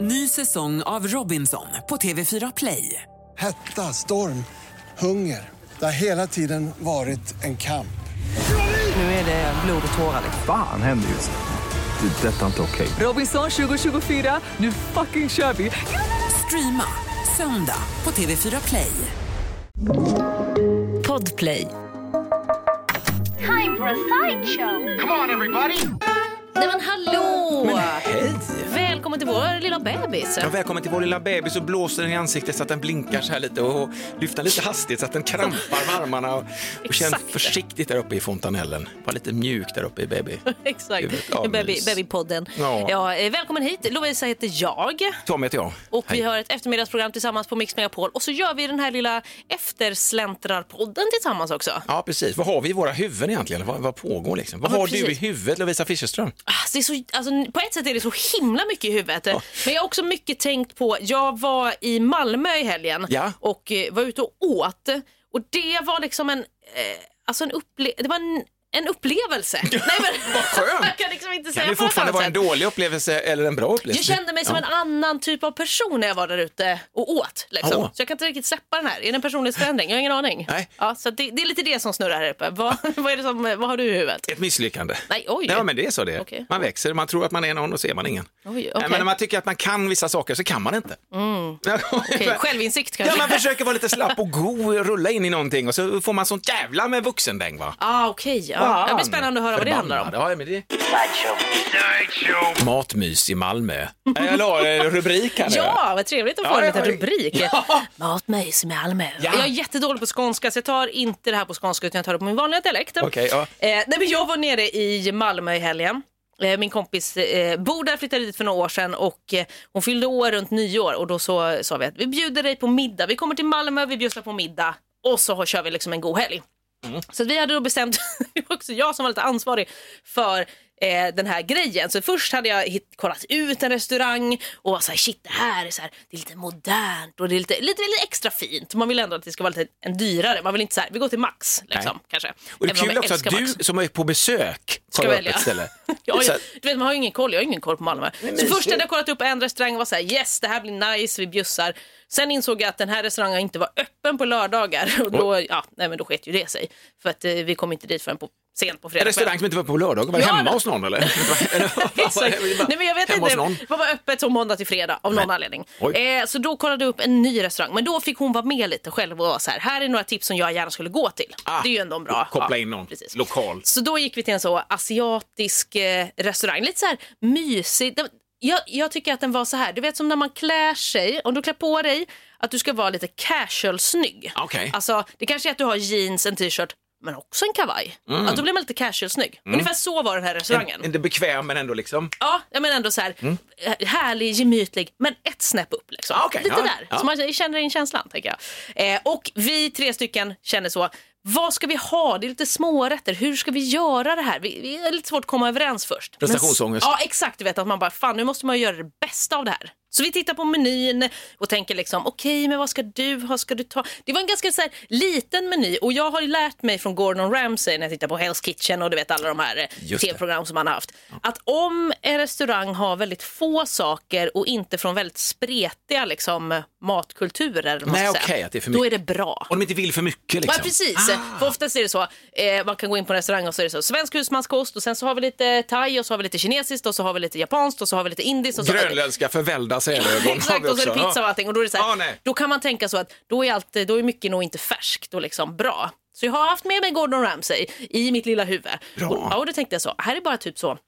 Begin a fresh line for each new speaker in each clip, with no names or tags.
Ny säsong av Robinson på TV4 Play.
Hetta, storm, hunger. Det har hela tiden varit en kamp.
Nu är det blod och tårar. liksom.
Fan händer just nu. Det. är Detta är inte okej.
Robinson 2024, nu fucking kör vi! Streama söndag på TV4 Play.
Podplay.
time for a sideshow.
Nej men hallå! Välkommen till vår lilla bebis.
Ja, välkommen till vår lilla bebis och blåser den i ansiktet så att den blinkar så här lite och lyfter lite hastigt så att den krampar med armarna och, och känn
Exakt.
försiktigt där uppe i fontanellen. Var lite mjuk där uppe i baby.
Exakt,
Ja,
Baby-
mys.
Babypodden.
Ja.
Ja, eh, välkommen hit, Lovisa heter jag.
Tom heter jag.
Och vi
Hej.
har ett eftermiddagsprogram tillsammans på Mix Megapol. Och så gör vi den här lilla eftersläntrarpodden tillsammans också.
Ja, precis. Vad har vi i våra huvuden egentligen? Vad, vad pågår liksom? Vad
Ja, men
har du i
precis.
huvudet Lovisa Fischerström?
Alltså, det är så, alltså, på ett sätt är det så himla mycket i huvudet. Men jag har också mycket tänkt på, jag var i Malmö i helgen
Ja.
och eh, var ute och åt och det var liksom en, eh, alltså en, upple- det var en, en upplevelse. Nej, men,
Vad skönt.
Jag kan liksom inte säga
Kan
på
det
något
fortfarande
annat
vara
sätt.
en dålig upplevelse eller en bra
Jag
upplevelse?
kände mig som
Ja.
en annan typ av person när jag var där ute och åt. Liksom.
Åh.
Så jag kan inte riktigt släppa den här. Är det en personlighetsförändring? Jag har ingen aning.
Nej.
Ja, så att det, det är lite det som snurrar här uppe. Vad, vad, är det som, vad har du i huvudet?
Ett misslyckande.
Nej, oj.
Nej, men det är så det är.
Okej.
Man växer, man tror att man är någon och så är man ingen.
Oj, okej. Mm.
Nej, men när man tycker att man kan vissa saker så kan man inte.
Okej, Självinsikt
Ja,
kanske?
man försöker vara lite slapp och god och rulla in i någonting och så får man sånt jävla med vuxendäng va.
Ah, okej. Ja. Det blir spännande att höra vad det handlar om.
Ja, men det... Matmys i Malmö. Nej, Jag la en rubrik här nu.
Ja, vad trevligt att få
Ja,
en
ja,
liten
ja.
rubrik. Matmys i Malmö.
Ja.
Jag är jättedålig på skånska så jag tar inte det här på skånska utan jag tar det på min vanliga dialekt.
Okej, ja.
eh, nej, men jag var nere i Malmö i helgen. Eh, Min kompis eh, bor där, flyttade dit för några år sedan och eh, hon fyllde år runt nyår och då så sa vi att vi bjuder dig på middag. Vi kommer till Malmö, vi bjussar på middag och så kör vi liksom en god helg. Så att vi hade då bestämt, det var också jag som var lite ansvarig för eh, den här grejen. Så först hade jag hitt, kollat ut en restaurang och var så här, shit det här är så här, det är lite modernt och det är lite, lite, lite extra fint. Man vill ändå att det ska vara lite en dyrare, man vill inte så här, vi går till Max liksom
Nej.
kanske.
Och det
Även om
är kul
jag
också att
älskar
du
Max.
som är på besök
Ska
kollar upp
välja.
ett ställe.
Ja,
Så
jag,
att-
du vet man har ju ingen koll, jag har ingen koll på Malmö. så först hade jag kollat upp en restaurang och var såhär yes det här blir nice, vi bjussar. Sen insåg jag att den här restaurangen inte var öppen på lördagar och då, ja, nej, men då sket ju det sig. För att eh, vi kom inte dit förrän på, sent på fredag
En restaurang som inte var på lördag, var det
Ja,
hemma
men-
hos någon eller?
Exakt. Nej, men jag vet
hemma
inte.
hos någon.
Det var öppet från måndag till fredag av någon anledning.
Oj.
Eh, så då kollade jag upp en ny restaurang. Men då fick hon vara med lite själv och vara så här. Här är några tips som jag gärna skulle gå till.
Ah,
det är ju ändå en bra.
Koppla
ja,
in någon
precis.
lokal.
Så då gick vi till en så asiatisk eh, restaurang. Lite så här mysig. Den- Jag, jag tycker att den var så här. Du vet som när man klär sig. Om du klär på dig att du ska vara lite casual snygg.
Okej.
Alltså, det kanske är att du har jeans, en t-shirt men också en kavaj. Att då blir man lite casual snygg. Ungefär så var den här restaurangen.
Inte bekväm men ändå liksom.
Ja, jag menar ändå så här eh, härlig, gemytlig, men ett snäpp upp. Liksom.
Mm. Ja, okej,
Lite
ja,
där,
ja.
så man känner in känslan. Tänker jag. Eh, och vi tre stycken känner så, vad ska vi ha? Det är lite smårätter, hur ska vi göra det här? Vi, vi är lite svårt att komma överens först. Men-
Prestationsångest.
Ja, exakt. Du vet att man bara, fan nu måste man ju göra det bästa av det här. Så vi tittar på menyn och tänker liksom, okej men vad ska du ha, ska du ta? Det var en ganska så här, liten meny och jag har ju lärt mig från Gordon Ramsay när jag tittar på Hell's Kitchen och du vet alla de här eh,
Just det.
tv-program som han har haft. Att om en restaurang har väldigt få saker och inte från väldigt spretiga liksom, matkulturer, eller vad man
Nej,
ska säga,
okej, att det är för
då är
mycket.
det bra.
Och de inte vill för mycket
Ja,
liksom.
precis. För oftast är det så, eh, man kan gå in på en restaurang och så är det så, svensk husmanskost och sen så har vi lite thai och så har vi lite kinesiskt och så har vi lite japanskt och så har vi lite indiskt. Och så
Grönländska förvällda sälögon har vi
Exakt, och så är det
eh, också.
pizza och allting. Och då, är det så här,
Ja, nej.
då kan man tänka så att då är, allt, då är mycket nog inte färskt och liksom bra. Så jag har haft med mig Gordon Ramsay i mitt lilla huvud.
Bra.
Och, ja, och då tänkte jag så, här är bara typ så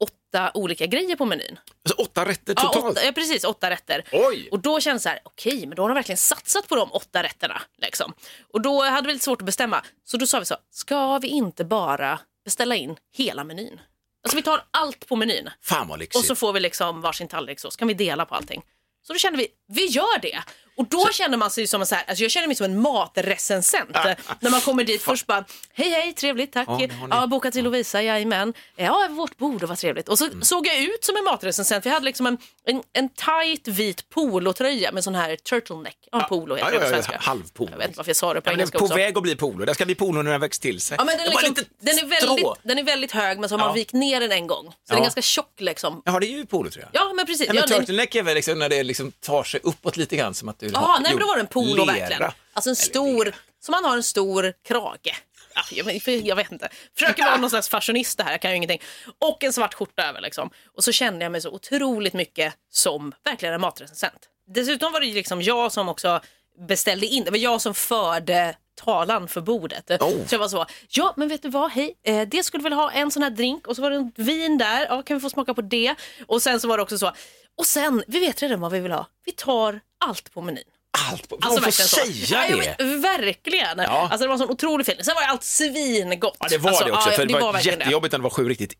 åtta olika grejer på menyn.
Alltså, åtta rätter
Ja,
totalt?
åtta, ja, precis, åtta rätter.
Oj.
Och då kändes det så här, okej, men då har de verkligen satsat på de åtta rätterna. Liksom. Och då hade vi lite svårt att bestämma. Så då sa vi så, ska vi inte bara beställa in hela menyn? Alltså vi tar allt på menyn
Fan vad lyxigt.
och så får vi liksom varsin tallrik så, så kan vi dela på allting. Så då kände vi, vi gör det. Och då känner man sig som en så här, alltså jag känner mig som en matrecensent. när man kommer dit först bara, hej hej, trevligt, tack.
Ah. Ja,
Ja,
det har ni.
ja bokat till Lovisa, jajamän. Ja, vårt bord, och vad trevligt. Och så
Mm.
såg jag ut som en matrecensent, för jag hade liksom en, en, en tight vit polotröja med sån här turtleneck. Ja, polo heter
Ah. ja,
det på
ja, ja,
svenska.
halvpolo.
Jag vet inte varför jag sa det på
Ja, men den
engelska
är på
också.
väg att bli polo. Där ska bli polo när den växt till sig.
Ja, men den, är
Det var
liksom,
lite
den, är
strå.
väldigt, den är väldigt hög men så har man
Ja.
vikt ner den en gång. Så den
Ja.
är ganska tjock liksom.
Jaha, det är ju polo tror jag.
Ja men precis.
Nej, men
ja, den-
turtleneck är väl liksom när det liksom tar sig uppåt lite grann som att du
Jaha, nej men då var det en polo
lera.
verkligen. Alltså en stor, som man har en stor krage. Ja, Jag vet, för- jag vet inte. Försöker vara någon slags fashionista här, jag kan ju ingenting. Och en svart skjorta över liksom. Och så kände jag mig så otroligt mycket som verkligen en matrecensent. Dessutom var det ju liksom jag som också beställde in, det var jag som förde talan för bordet. Så jag var så, ja men vet du vad, hej, eh, det skulle väl ha en sån här drink och så var det en vin där, ja kan vi få smaka på det? Och sen så var det också så, och sen, vi vet redan vad vi vill ha, vi tar allt på menyn.
Allt på,
Alltså,
man får
verkligen så.
säga
Ja,
det.
jag vet, verkligen.
Ja.
Alltså, det var en sån otrolig film. Sen var ju allt svingott.
Ja, det var
alltså,
det också,
ja,
för det, var,
verkligen det.
jättejobbigt när det var sju riktigt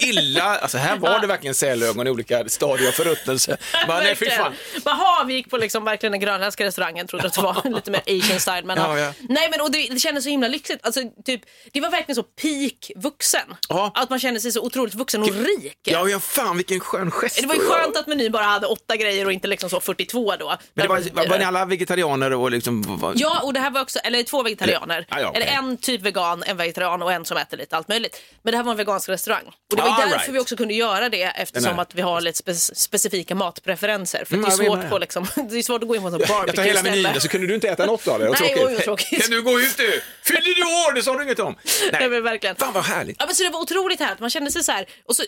illa, alltså här var det verkligen sälögon i olika stadier av förruttnelse. Bara, nej, fy fan.
Jaha, vi gick på liksom verkligen den grönländska restaurangen, trodde att det var lite mer asian style. Men,
Ja, ja.
Nej, men och det, det kändes så himla lyxigt. Alltså, typ, det var verkligen så peak vuxen.
Ja.
Att man kände sig så otroligt vuxen och rik.
Ja, ja, fan vilken skön gest.
Det var ju skönt att menyn bara hade åtta grejer och inte liksom så 42 då.
Men det var, var, var ni alla vegetarianer och liksom... Var,
Ja, och det här var också, eller två vegetarianer.
Eller- Ah, ja, okej.
Eller en typ vegan, en vegetarian och en som äter lite allt möjligt. Men det här var en vegansk restaurang. Och det var
Ah,
därför
right.
vi också kunde göra det
Den
eftersom
här.
att vi har lite spe specifika matpreferenser. För
Mm,
det, är
jag menar
svårt
det.
på, liksom, det är svårt att gå in på en sån
Jag tar hela menyn
barbecue-ställe.
så kunde du inte äta något av det. Vad
Nej,
tråkigt.
oj, vad tråkigt.
Kan du gå ut du? Fyller du år? Det sa du inget om.
Nej, men verkligen.
Fan vad härligt.
Ja, men så det var otroligt härligt. Man kände sig så här. Och så,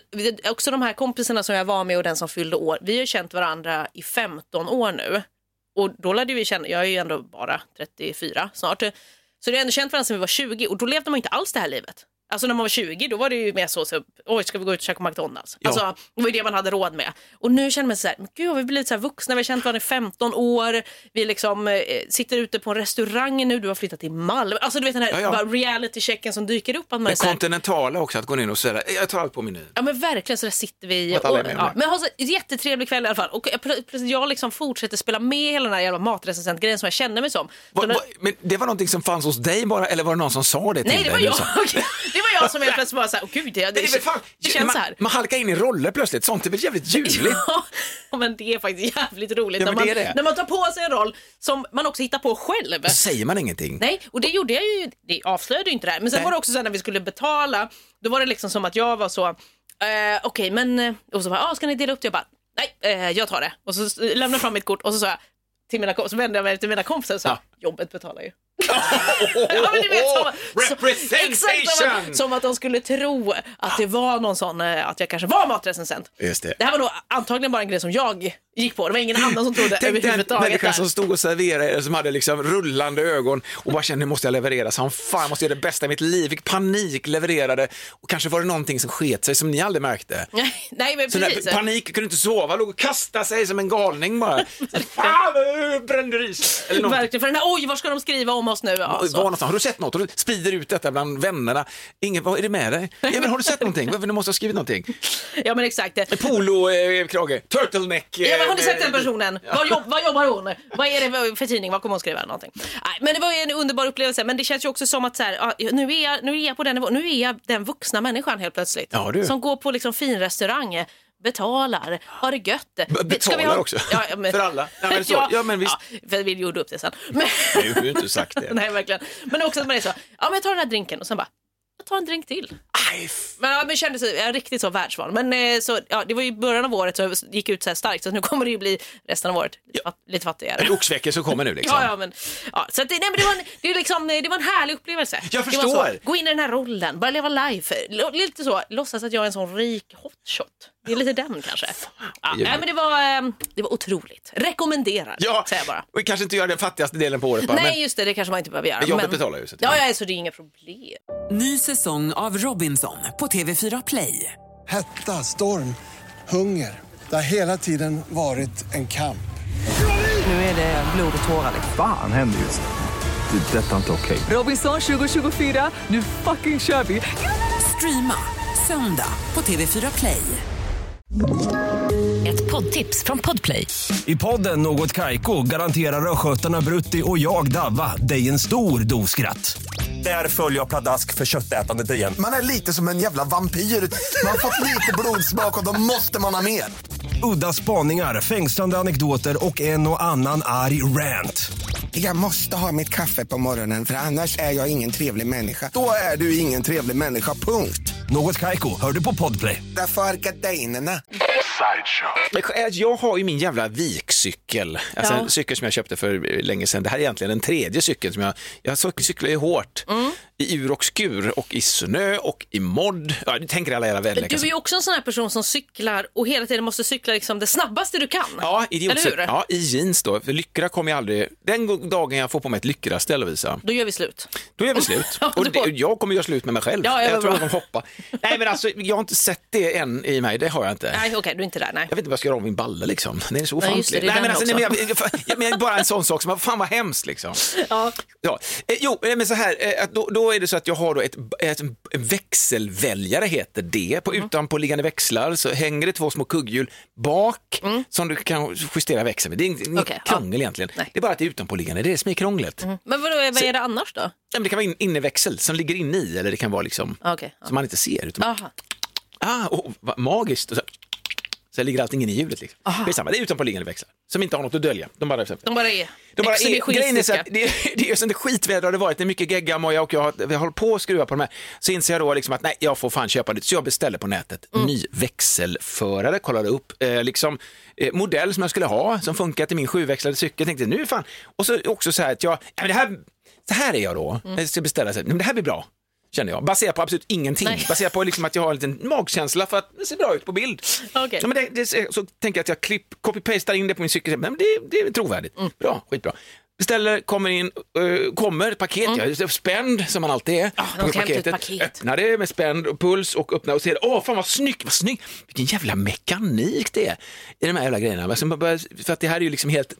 också de här kompisarna som jag var med och den som fyllde år. Vi har ju känt varandra i 15 år nu. Och då lärde vi känna, jag är ju ändå bara 34 snart. Så vi har ändå känt varandra sedan vi var 20 och då levde man ju inte alls det här livet. Alltså när man var 20 då var det ju mer så, så oj ska vi gå ut och käka McDonalds?
Ja.
Alltså det var ju det man hade råd med. Och nu känner man sig så här, men gud har vi blivit så här vuxna, vi har känt varandra i 15 år, vi liksom eh, sitter ute på en restaurang nu, du har flyttat till Malmö. Alltså du vet den här
Ja, ja.
bara reality-checken som dyker upp. Att man är
Den
så här,
kontinentala också, att gå in och säga jag tar allt på menyn.
Ja men verkligen så där sitter vi.
Att alla är med om
ja,
det.
men har så jättetrevlig kväll i alla fall. Och jag, plö- plötsligt jag liksom fortsätter spela med hela den här jävla matrecensentgrejen som jag känner mig som. Så
Va,
när-
va, men det var någonting som fanns hos dig bara, eller var det någon som sa det till
Nej det
dig?
var
Du
jag.
sa-
det var jag som helt plötsligt bara såhär, åh gud det, det,
Det, är väl fan,
det känns
man,
så här.
man halkar in i roller plötsligt, sånt är väl jävligt ljuvligt?
Ja, men det är faktiskt jävligt roligt
Ja,
när,
men
man,
det är det.
när man tar på sig en roll som man också hittar på själv.
Då säger man ingenting.
Nej, och det gjorde jag ju, det avslöjade ju inte det här. Men sen
Nej.
var det också så här när vi skulle betala, då var det liksom som att jag var så, eh, okej men, eh, och så bara, ah, ska ni dela upp det? Jag bara, nej, eh, jag tar det. Och så s- lämnade jag fram mitt kort och så sa jag, till mina kom- så vände jag mig till mina kompisar och sa,
Ja.
jobbet betalar ju. Ja, men du vet, som, så- exakt som,
Representation!
att, som att de skulle tro att det var någon sån, eh, att jag kanske var matrecensent.
Just det.
det här var nog antagligen bara en grej som jag gick på, det var ingen annan som trodde
Tänk den
överhuvudtaget.
människan
där.
som stod och serverade er som hade liksom rullande ögon och bara kände nu måste jag leverera som fan, måste göra det bästa i mitt liv. Fick panik, levererade och kanske var det någonting som sket sig som ni aldrig märkte.
Nej, nej, men
Så när
precis.
panik, kunde inte sova, låg och kastade sig som en galning bara. Så, Fan, jag brände ris! Eller någonting.
Verkligen, för den här, oj vad ska de skriva om oss nu? Alltså. Ja,
Oj,
så.
Var någonstans? Har du sett något? Och du sprider ut detta bland vännerna. Ingen, vad är det med dig? Ja, men har du sett någonting? Varför- Du måste ha skrivit någonting.
Ja men exakt.
Polo-krage, eh, krage. turtleneck. eh,
Ja, men har ni sett den
eh,
personen? Vad, jobb, vad jobbar hon? Vad är det för tidning? Vad kommer hon skriva? eller Någonting? Nej, men det var ju en underbar upplevelse. Men det känns ju också som att så här, ja, nu, är jag, nu är jag på den nivån. Nu är jag den vuxna människan helt plötsligt.
Ja, du.
Som går på liksom fin restaurang betalar, har det gött.
B-
Ska vi
betalar också. För alla. Ja, men så. Ja, men visst.
Ja, för vi gjorde upp det sen. Men...
Nej, jag har ju inte sagt det.
Nej, verkligen. Men också att man är så, ja men jag tar den här drinken och sen bara, jag tar en drink till.
Aj, f-
Men, ja, men kände sig ja, riktigt så världsvan. Men eh, så, ja, det var ju i början av året så jag gick ut så här starkt så nu kommer det ju bli resten av året lite, fatt, lite fattigare.
En oxväckelse som kommer nu liksom.
Ja, ja, men, ja, så att, det- nej, men det, var en, det, är liksom, eh, det var en härlig upplevelse.
Jag
Det var så,
förstår.
gå in i den här rollen, bara leva life. L- lite så, låtsas att jag är en sån rik hotshot. Det är lite den kanske. Ja, nej, men det var, eh, det var otroligt. Rekommenderar,
Ja,
säger jag bara.
vi kanske inte gör den fattigaste delen på året bara.
Nej, just det, det kanske man inte behöver göra.
Men jobbet betalar ju, så det-
Ja, ja, så det är inga problem.
Ny säsong av Robinson på TV4 Play.
Hetta, storm, hunger. Det har hela tiden varit en kamp.
Nu är det blod och tårar. liksom.
Fan händer just det. Det är detta inte okej.
Robinson 2024, nu fucking kör vi! Streama söndag på TV4 Play.
Ett Ett poddtips från Podplay.
I podden Något Kaiko garanterar östgötarna Brutti och jag, Davva, dig en stor dos skratt. Där följer jag pladask för köttätandet igen.
Man är lite som en jävla vampyr. Man har fått lite blodsmak och då måste man ha mer.
Udda spaningar, fängslande anekdoter och en och annan arg rant.
Jag måste ha mitt kaffe på morgonen för annars är jag ingen trevlig människa.
Då är du ingen trevlig människa, punkt.
Något Kaiko, hör du på Podplay.
Därför arkadeinerna.
eh, Jag har ju min jävla vikcykel, alltså
Ja.
en cykel som jag köpte för eh, länge sedan. Det här är egentligen den tredje cykeln som jag, jag cyk- cyklar ju hårt
Mm.
i ur och skur och i snö och i modd. Ja, du tänker alla jävla
Du
väderlekar.
är ju också en sån här person som cyklar och hela tiden måste cykla liksom det snabbaste du kan.
Ja,
Eller
idiotcykel.
hur?
Ja, i jeans då. För lyckra kommer jag aldrig... Den go- dagen jag får på mig ett lyckra-ställ, Lovisa,
Då gör vi slut.
Då gör vi slut.
Ja,
Och
då-
det, jag kommer göra slut med mig själv.
Ja, ja,
jag tror
bra.
jag kommer hoppa. Nej, men alltså, jag har inte sett det än i mig. Det har jag inte.
Nej, okej, du är inte där. Nej.
Jag vet inte vad jag ska göra av min balle liksom. Den är så
Nej,
ofantlig.
just det, det är
men
den
alltså, nej, men,
också.
jag, jag, jag, men bara en sån sak som, fan vad hemskt liksom.
Ja.
Ja. Eh, jo, eh, men så här, eh, att då, då är det så att jag har då ett, ett en växelväljare heter det. På
Mm.
utanpåliggande växlar så hänger det två små kugghjul bak som du kan justera växeln med. Det är inget inget
Mm. Okej, ja.
krångel egentligen.
Nej. Mm.
Det är bara att det är utanpåliggande, det är det som är krånglet.
Men vadå, vad är det annars då?
Ja, men det kan vara in, inneväxel som ligger inne i eller det kan vara liksom
Ah, okej, ja.
som man inte ser. Utan,
Aha.
ah, oh, vad magiskt. Och Så, så ligger allting inne i hjulet. Liksom. Det är samma, det är utanpåliggande växlar som inte har något att dölja. De bara,
De bara är
de bara är, grejen är så
exhibitionistiska.
att det, det är sånt skitväder har det varit, det är mycket geggamoja och jag, har- jag håller på att skruva på de här. Så inser jag då liksom att nej, jag får fan köpa det. Så jag beställer på nätet,
Mm.
ny växelförare, kollade upp eh, liksom, eh, modell som jag skulle ha, som funkar till min sjuväxlade cykel. Tänkte nu fan, och så också så här att jag, ja, men det här, så här är jag då,
Mm.
jag ska beställa, så här, men det här blir bra. Känner jag, baserat på absolut ingenting.
Nej.
Baserat på liksom att jag har en liten magkänsla för att det ser bra ut på bild.
Okej.
Ja, men det, det, så tänker jag att jag klipp, copy-pastar in det på min cykel. Men det, det är trovärdigt.
Mm.
Bra, skitbra. Beställer, kommer in, eh, kommer ett paket. Jag är så spänd som man alltid är.
Mm. Ah, de
Kommer
ska hämta ett paket.
Öppnar det med spänd och puls och öppnar och ser Åh, fan vad snyggt, vad snyggt. Vilken jävla mekanik det är i de här jävla grejerna. Alltså, man börjar- För att det här är ju liksom helt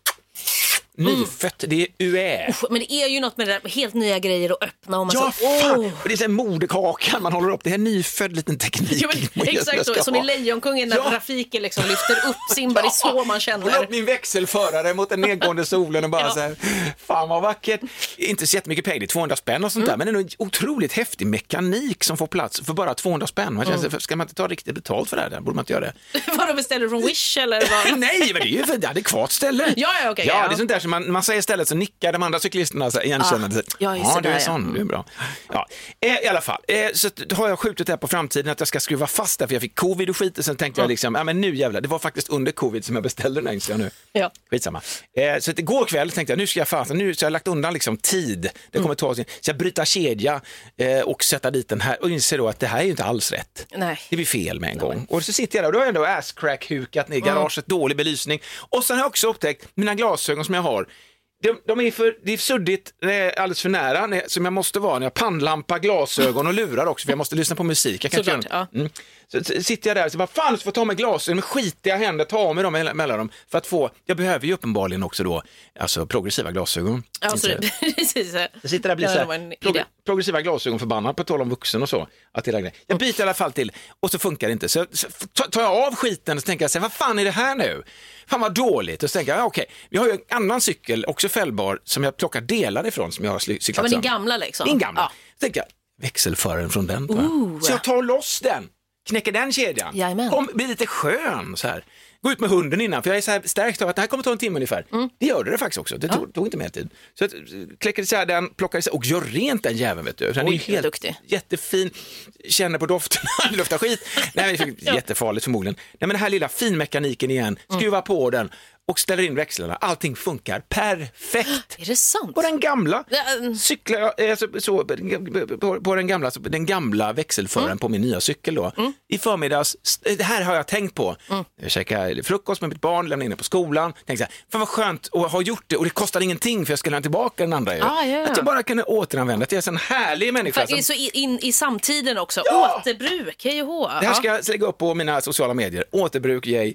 Mm.
nyfött. Det är UE.
Men det är ju något med det där, helt nya grejer att öppna. Och man
Ja,
så,
fan!
åh.
Och det är så här moderkakan man håller upp. Det här är nyfödd liten teknik.
Ja, men, exakt
Jag
så,
ska
som i
ha.
Lejonkungen när
Ja.
trafiken liksom lyfter upp Simba, det är så man
Hålla upp
känner.
min växelförare mot den nedgående solen och bara så här, fan vad vackert. Inte så jättemycket pengar, det är 200 spänn och sånt
Mm.
där, men det är nog en otroligt häftig mekanik som får plats för bara 200 spänn. Man
Mm.
känner, sig, Ska man inte ta riktigt betalt för det här? Borde man inte göra det?
Vadå, beställer du från Wish eller vad?
Nej, men det är ju för ett adekvat ställe.
Ja, ja, okej,
ja,
ja.
det är sånt där som man, man säger stället så nickar de andra cyklisterna så här igenkännande.
Ah, ja, just det
ja, du är
där, ja.
sån, du är bra. Ja. Eh, I alla fall, eh, så att- då har jag skjutit det här på framtiden att jag ska skruva fast det för jag fick covid och skit och sen tänkte jag liksom, ja men nu jävlar, det var faktiskt under covid som jag beställde den här inser jag nu.
Ja.
Skitsamma. Eh, så att igår kväll tänkte jag, nu ska jag fasen, nu så har jag lagt undan liksom tid, det
Mm.
kommer ta sin, så jag bryta kedja eh, och sätta dit den här och inser då att det här är ju inte alls rätt.
Nej.
Det blir fel med en gång. Och så sitter jag där och då har jag ändå asscrack-hukat ner i garaget, dålig belysning. Och sen har jag också upptäckt, mina glasögon som jag har, de, de är för, det är suddigt eh, alldeles för nära när- som jag måste vara när jag pannlampa, glasögon och lurar också för jag måste lyssna på musik. Jag kan inte
Såklart,
göra- mm. så, så sitter jag där och så bara, fan så får jag ta med glasögon med skitiga händer, ta av mig dem mell- mellan dem för att få, jag behöver ju uppenbarligen också då, alltså progressiva glasögon.
Ja, så det,
Inte-
precis.
jag sitter där och blir
Ja,
så
det var en
här,
idé.
prog- progressiva glasögon förbannad på tal om vuxen och så. Att det där grejen. jag byter i alla fall till och så funkar det inte. Så, så ta- tar jag av skiten och så tänker jag, så här, vad fan är det här nu? Fan vad dåligt. Och så tänker jag, ja, okej, vi har ju en annan cykel, också fällbar, som jag plockar delar ifrån som jag har sly- cyklat
Ja, men din
sönder.
gamla liksom.
Din gamla.
Ja.
Så tänker jag, växelföraren från den tar jag. Så jag tar loss den, knäcker den kedjan,
Jajamän.
Kom, blir lite skön så här. Gå ut med hunden innan, för jag är så här stärkt av att det här kommer ta en timme ungefär.
Mm.
Det gjorde det faktiskt också, det tog, tog inte mer tid. Så jag kläcker isär den, plockar isär och gör rent den jäveln vet du. Den
Oj,
är
vad duktig.
jättefin, känner på doften, det luktar skit. Nej, men det är Jättefarligt förmodligen. Nej, men den här lilla finmekaniken igen,
Mm.
skruva på den och ställer in växlarna. Allting funkar perfekt.
Är det sant?
På den gamla
Ja, mm.
cyklar jag, eh, så, så, på, på den gamla, så, den gamla växelföraren
Mm.
på min nya cykel då. I förmiddags, st- det här har jag tänkt på.
Mm.
Jag käkade frukost med mitt barn, lämnade in det på skolan. Tänkte så här, fan vad skönt att ha gjort det och det kostar ingenting för jag ska lämna tillbaka den andra ju.
Ah, ja, ja.
Att jag bara kunde återanvända, att jag är en sån härlig människa.
För det är
som-
så i- in i samtiden också.
Ja!
Återbruk, hej och hå.
det här ska jag lägga upp på mina sociala medier. Återbruk, yay.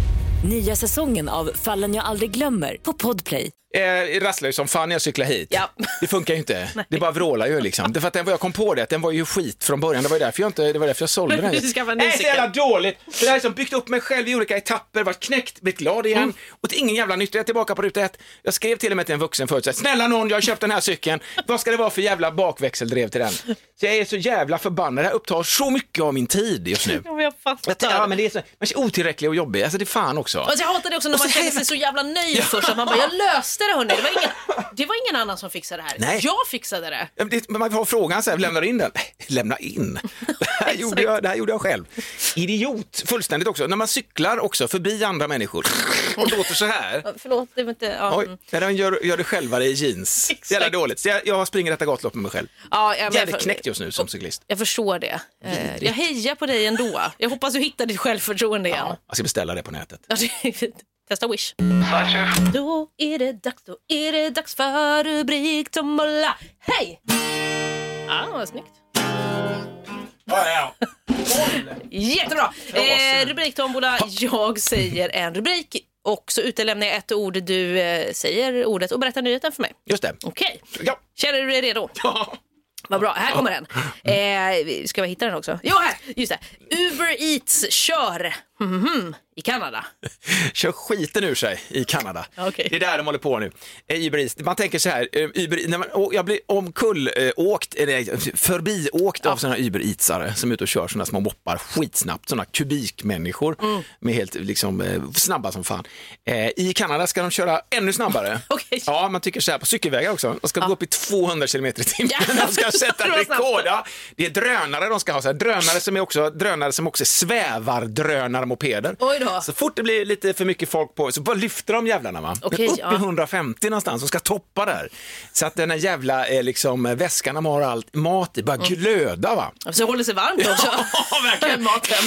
Nya säsongen av Fallen jag aldrig glömmer på Podplay.
Eh, rasslar ju som fan när jag cyklar hit.
Ja.
Det funkar ju inte. det bara vrålar ju liksom. Det för att den, jag kom på det, att den var ju skit från början. Det var ju därför jag, inte, det var därför jag sålde den.
Du skaffade en ny
Nej, så
cykel.
jävla dåligt. Det här är som byggt upp mig själv i olika etapper, varit knäckt, blivit glad igen.
Mm.
Och till ingen jävla nytta. Jag är tillbaka på ruta ett. Jag skrev till och med till en vuxen förut, så här, snälla någon, jag har köpt den här cykeln. Vad ska det vara för jävla bakväxeldrev till den? Så jag är så jävla förbannad. Det här upptar så mycket av min tid just nu.
Ja, men jag fattar.
Jag tänker, ja, men det är så, man är otillräcklig och jobbig. Alltså det är fan också.
Alltså jag hatar det också när
Och
man
så
känner
helvete-
sig så jävla nöjd först. Att man bara, jag löste det hörni. Det var ingen, det var ingen annan som fixade det här.
Nej.
Jag fixade det.
Ja, men det- men Man får frågan så här, lämnar du in den? Lämna in? Det här, gjorde jag, det här gjorde jag själv. Idiot, fullständigt också. När man cyklar också förbi andra människor och det låter så här.
Förlåt, det var inte... Ja,
Oj,
mm.
när de gör, gör det själva i jeans.
Exakt.
Jävla dåligt. Så jag, jag springer detta gatlopp med mig själv.
ja, jag,
Jävligt knäckt just nu som cyklist.
Jag förstår det. Eh, Jag hejar på dig ändå. Jag hoppas du hittar ditt självförtroende igen.
Ja, jag ska beställa det på nätet.
Ja, det är fint. Testa Wish. Då är det dags, då är det dags för rubrik tombola. Hej! Ja, vad snyggt. Jättebra! Eh, rubrik tombola. Jag säger en rubrik och så utelämnar jag ett ord. Du eh, säger ordet och berättar nyheten för mig.
Just det.
Okej,
Ja.
känner du dig redo?
Ja.
Vad bra, här kommer den. Eh, ska vi hitta den också? Jo, här! Just det. Uber Eats kör Mhm, i Kanada.
kör skiten ur sig i Kanada.
Okej.
Det är där de håller på nu. Eh, Uber Eats, man tänker så här, eh, Uber, när man, och jag blir omkullåkt, förbiåkt av sådana Uber Eatsare som är ute och kör sådana små moppar skitsnabbt, sådana kubikmänniskor
Mm.
med helt liksom, eh, snabba som fan. Eh, I Kanada ska de köra ännu snabbare.
Okej.
Ja, man tycker så här på cykelvägar också. De ska gå upp i 200 km i timmen.
Jävlar,
De ska
så
sätta
snabbt.
rekord. Ja, det är drönare de ska ha, så här, drönare, som är också, drönare som också svävar drönarmopeder.
Oj då.
Så fort det blir lite för mycket folk på så bara lyfter de jävlarna. Va?
Okej,
upp
ja.
i 150 någonstans och ska toppa där. Så att den här jävla eh, liksom, eh, väskan de har allt mat i bara
Mm.
glöda. Va?
Så håller sig varmt också.
Ja, verkligen.
Maten.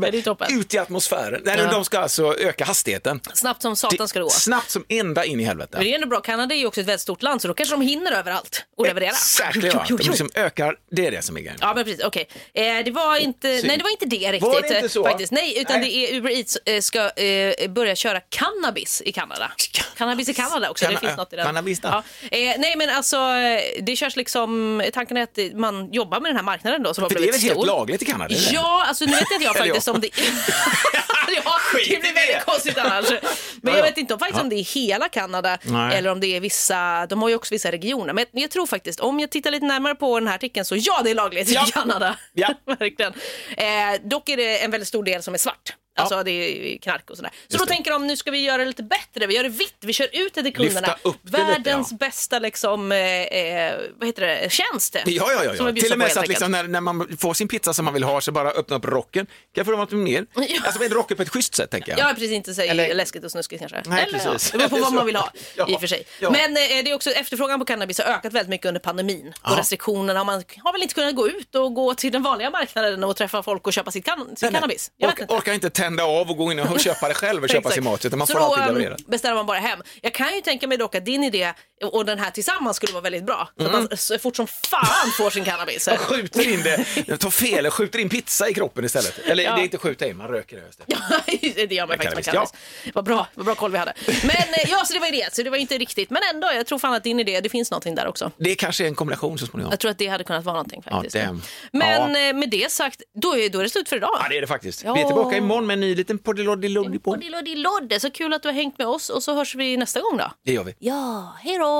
Det är ju toppen.
Ut i atmosfären. Nej,
Ja.
De ska alltså öka hastigheten.
Snabbt som satan ska det gå.
Snabbt som ända in i
Men det
helvete.
är ändå bra, Kanada är ju också ett väldigt stort land så då kanske de hinner överallt och leverera.
Exakt,
Jo,
ja.
jo,
De
jo.
liksom ökar, det är det som är grejen.
Ja men precis, okej. Eh, det var inte, nej det var inte det riktigt.
Var det inte så?
eh, Faktiskt. Nej, utan
Nej.
det är Uber Eats eh, ska eh, börja köra cannabis i Kanada. Cannabis i Kanada också,
Canna-
det finns något i den.
cannabis då.
ja. eh, Nej men alltså, eh, det körs liksom, tanken är att man jobbar med den här marknaden då som har
För det är
blivit
väl
stor.
helt lagligt i Kanada? eller?
Ja, alltså nu vet inte jag
Eller
faktiskt
ja.
om det ja,
Skit i
det blir
det.
väldigt konstigt annars. Men
Ja,
jag
ja.
vet inte om, faktiskt om det är hela Kanada
Nej.
eller om det är vissa, de har ju också vissa regioner. Men jag tror faktiskt, om jag tittar lite närmare på den här artikeln så ja, det är lagligt
Ja.
i Kanada.
Ja.
Verkligen. Eh, dock är det en väldigt stor del som är svart. Alltså det är knark och sådär. Så
Just
då
det.
tänker de, nu ska vi göra det lite bättre. Vi gör det vitt, vi kör ut det till
Lyfta
kunderna.
upp det lite,
Världens
ja.
bästa liksom, eh, eh, vad heter det, tjänst.
Ja, ja, ja.
Som vi bjussar
ja. Till och
på,
med
helt
så att
enkelt.
liksom när, när man får sin pizza som man vill ha så bara öppna upp rocken. Kan jag få något mer?
Ja.
Alltså en rocken på ett schysst sätt tänker jag.
Ja, precis. Inte så
Eller-
läskigt och snuskigt kanske.
Nej,
Eller,
precis.
Ja, det beror på vad
Så.
man vill ha
Ja,
i och för sig.
ja.
Men eh, det är också efterfrågan på cannabis har ökat väldigt mycket under pandemin. Och
Ja.
restriktionerna har man har väl inte kunnat gå ut och gå till den vanliga marknaden och träffa folk och köpa sitt, can- sitt
Nej, nej.
cannabis. Jag vet
Ork-
inte.
Orkar inte tända av och gå in och köpa det själv och köpa
Exakt.
sin mat utan man
Så
får
då,
alltid
ehm,
levererat.
beställer man bara hem. Jag kan ju tänka mig dock att din idé och den här tillsammans skulle vara väldigt bra. Så
Mm.
att man så fort som fan får sin cannabis.
Jag skjuter in det, jag tar fel, jag skjuter in pizza i kroppen istället. Eller
Ja.
det är inte skjuta in, man röker det. just det.
Ja, det gör man
Med
faktiskt med
cannabis,
cannabis. Vad bra, vad bra koll vi hade. Men eh, ja, så det var ju det. Så det var ju inte riktigt. Men ändå, jag tror fan att din idé, det finns någonting där också.
Det kanske är en kombination så småningom.
Jag tror att det hade kunnat vara någonting faktiskt.
Ja, damn.
Men
Ja.
eh, med det sagt, då är, då är det slut för idag.
Ja, det är det faktiskt.
Ja.
Vi är tillbaka imorgon med en ny liten
Och
poddiloddiloddipod.
det lodde, lodde. Så kul att du har hängt med oss och så hörs vi nästa gång då.
Det gör vi.
Ja, hej då!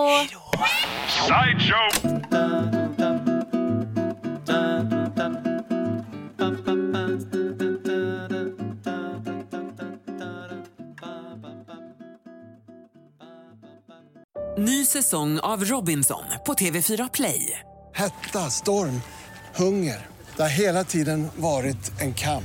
Ny säsong av Robinson på TV4 Play.
Hetta, storm, hunger. Det har hela tiden varit en kamp.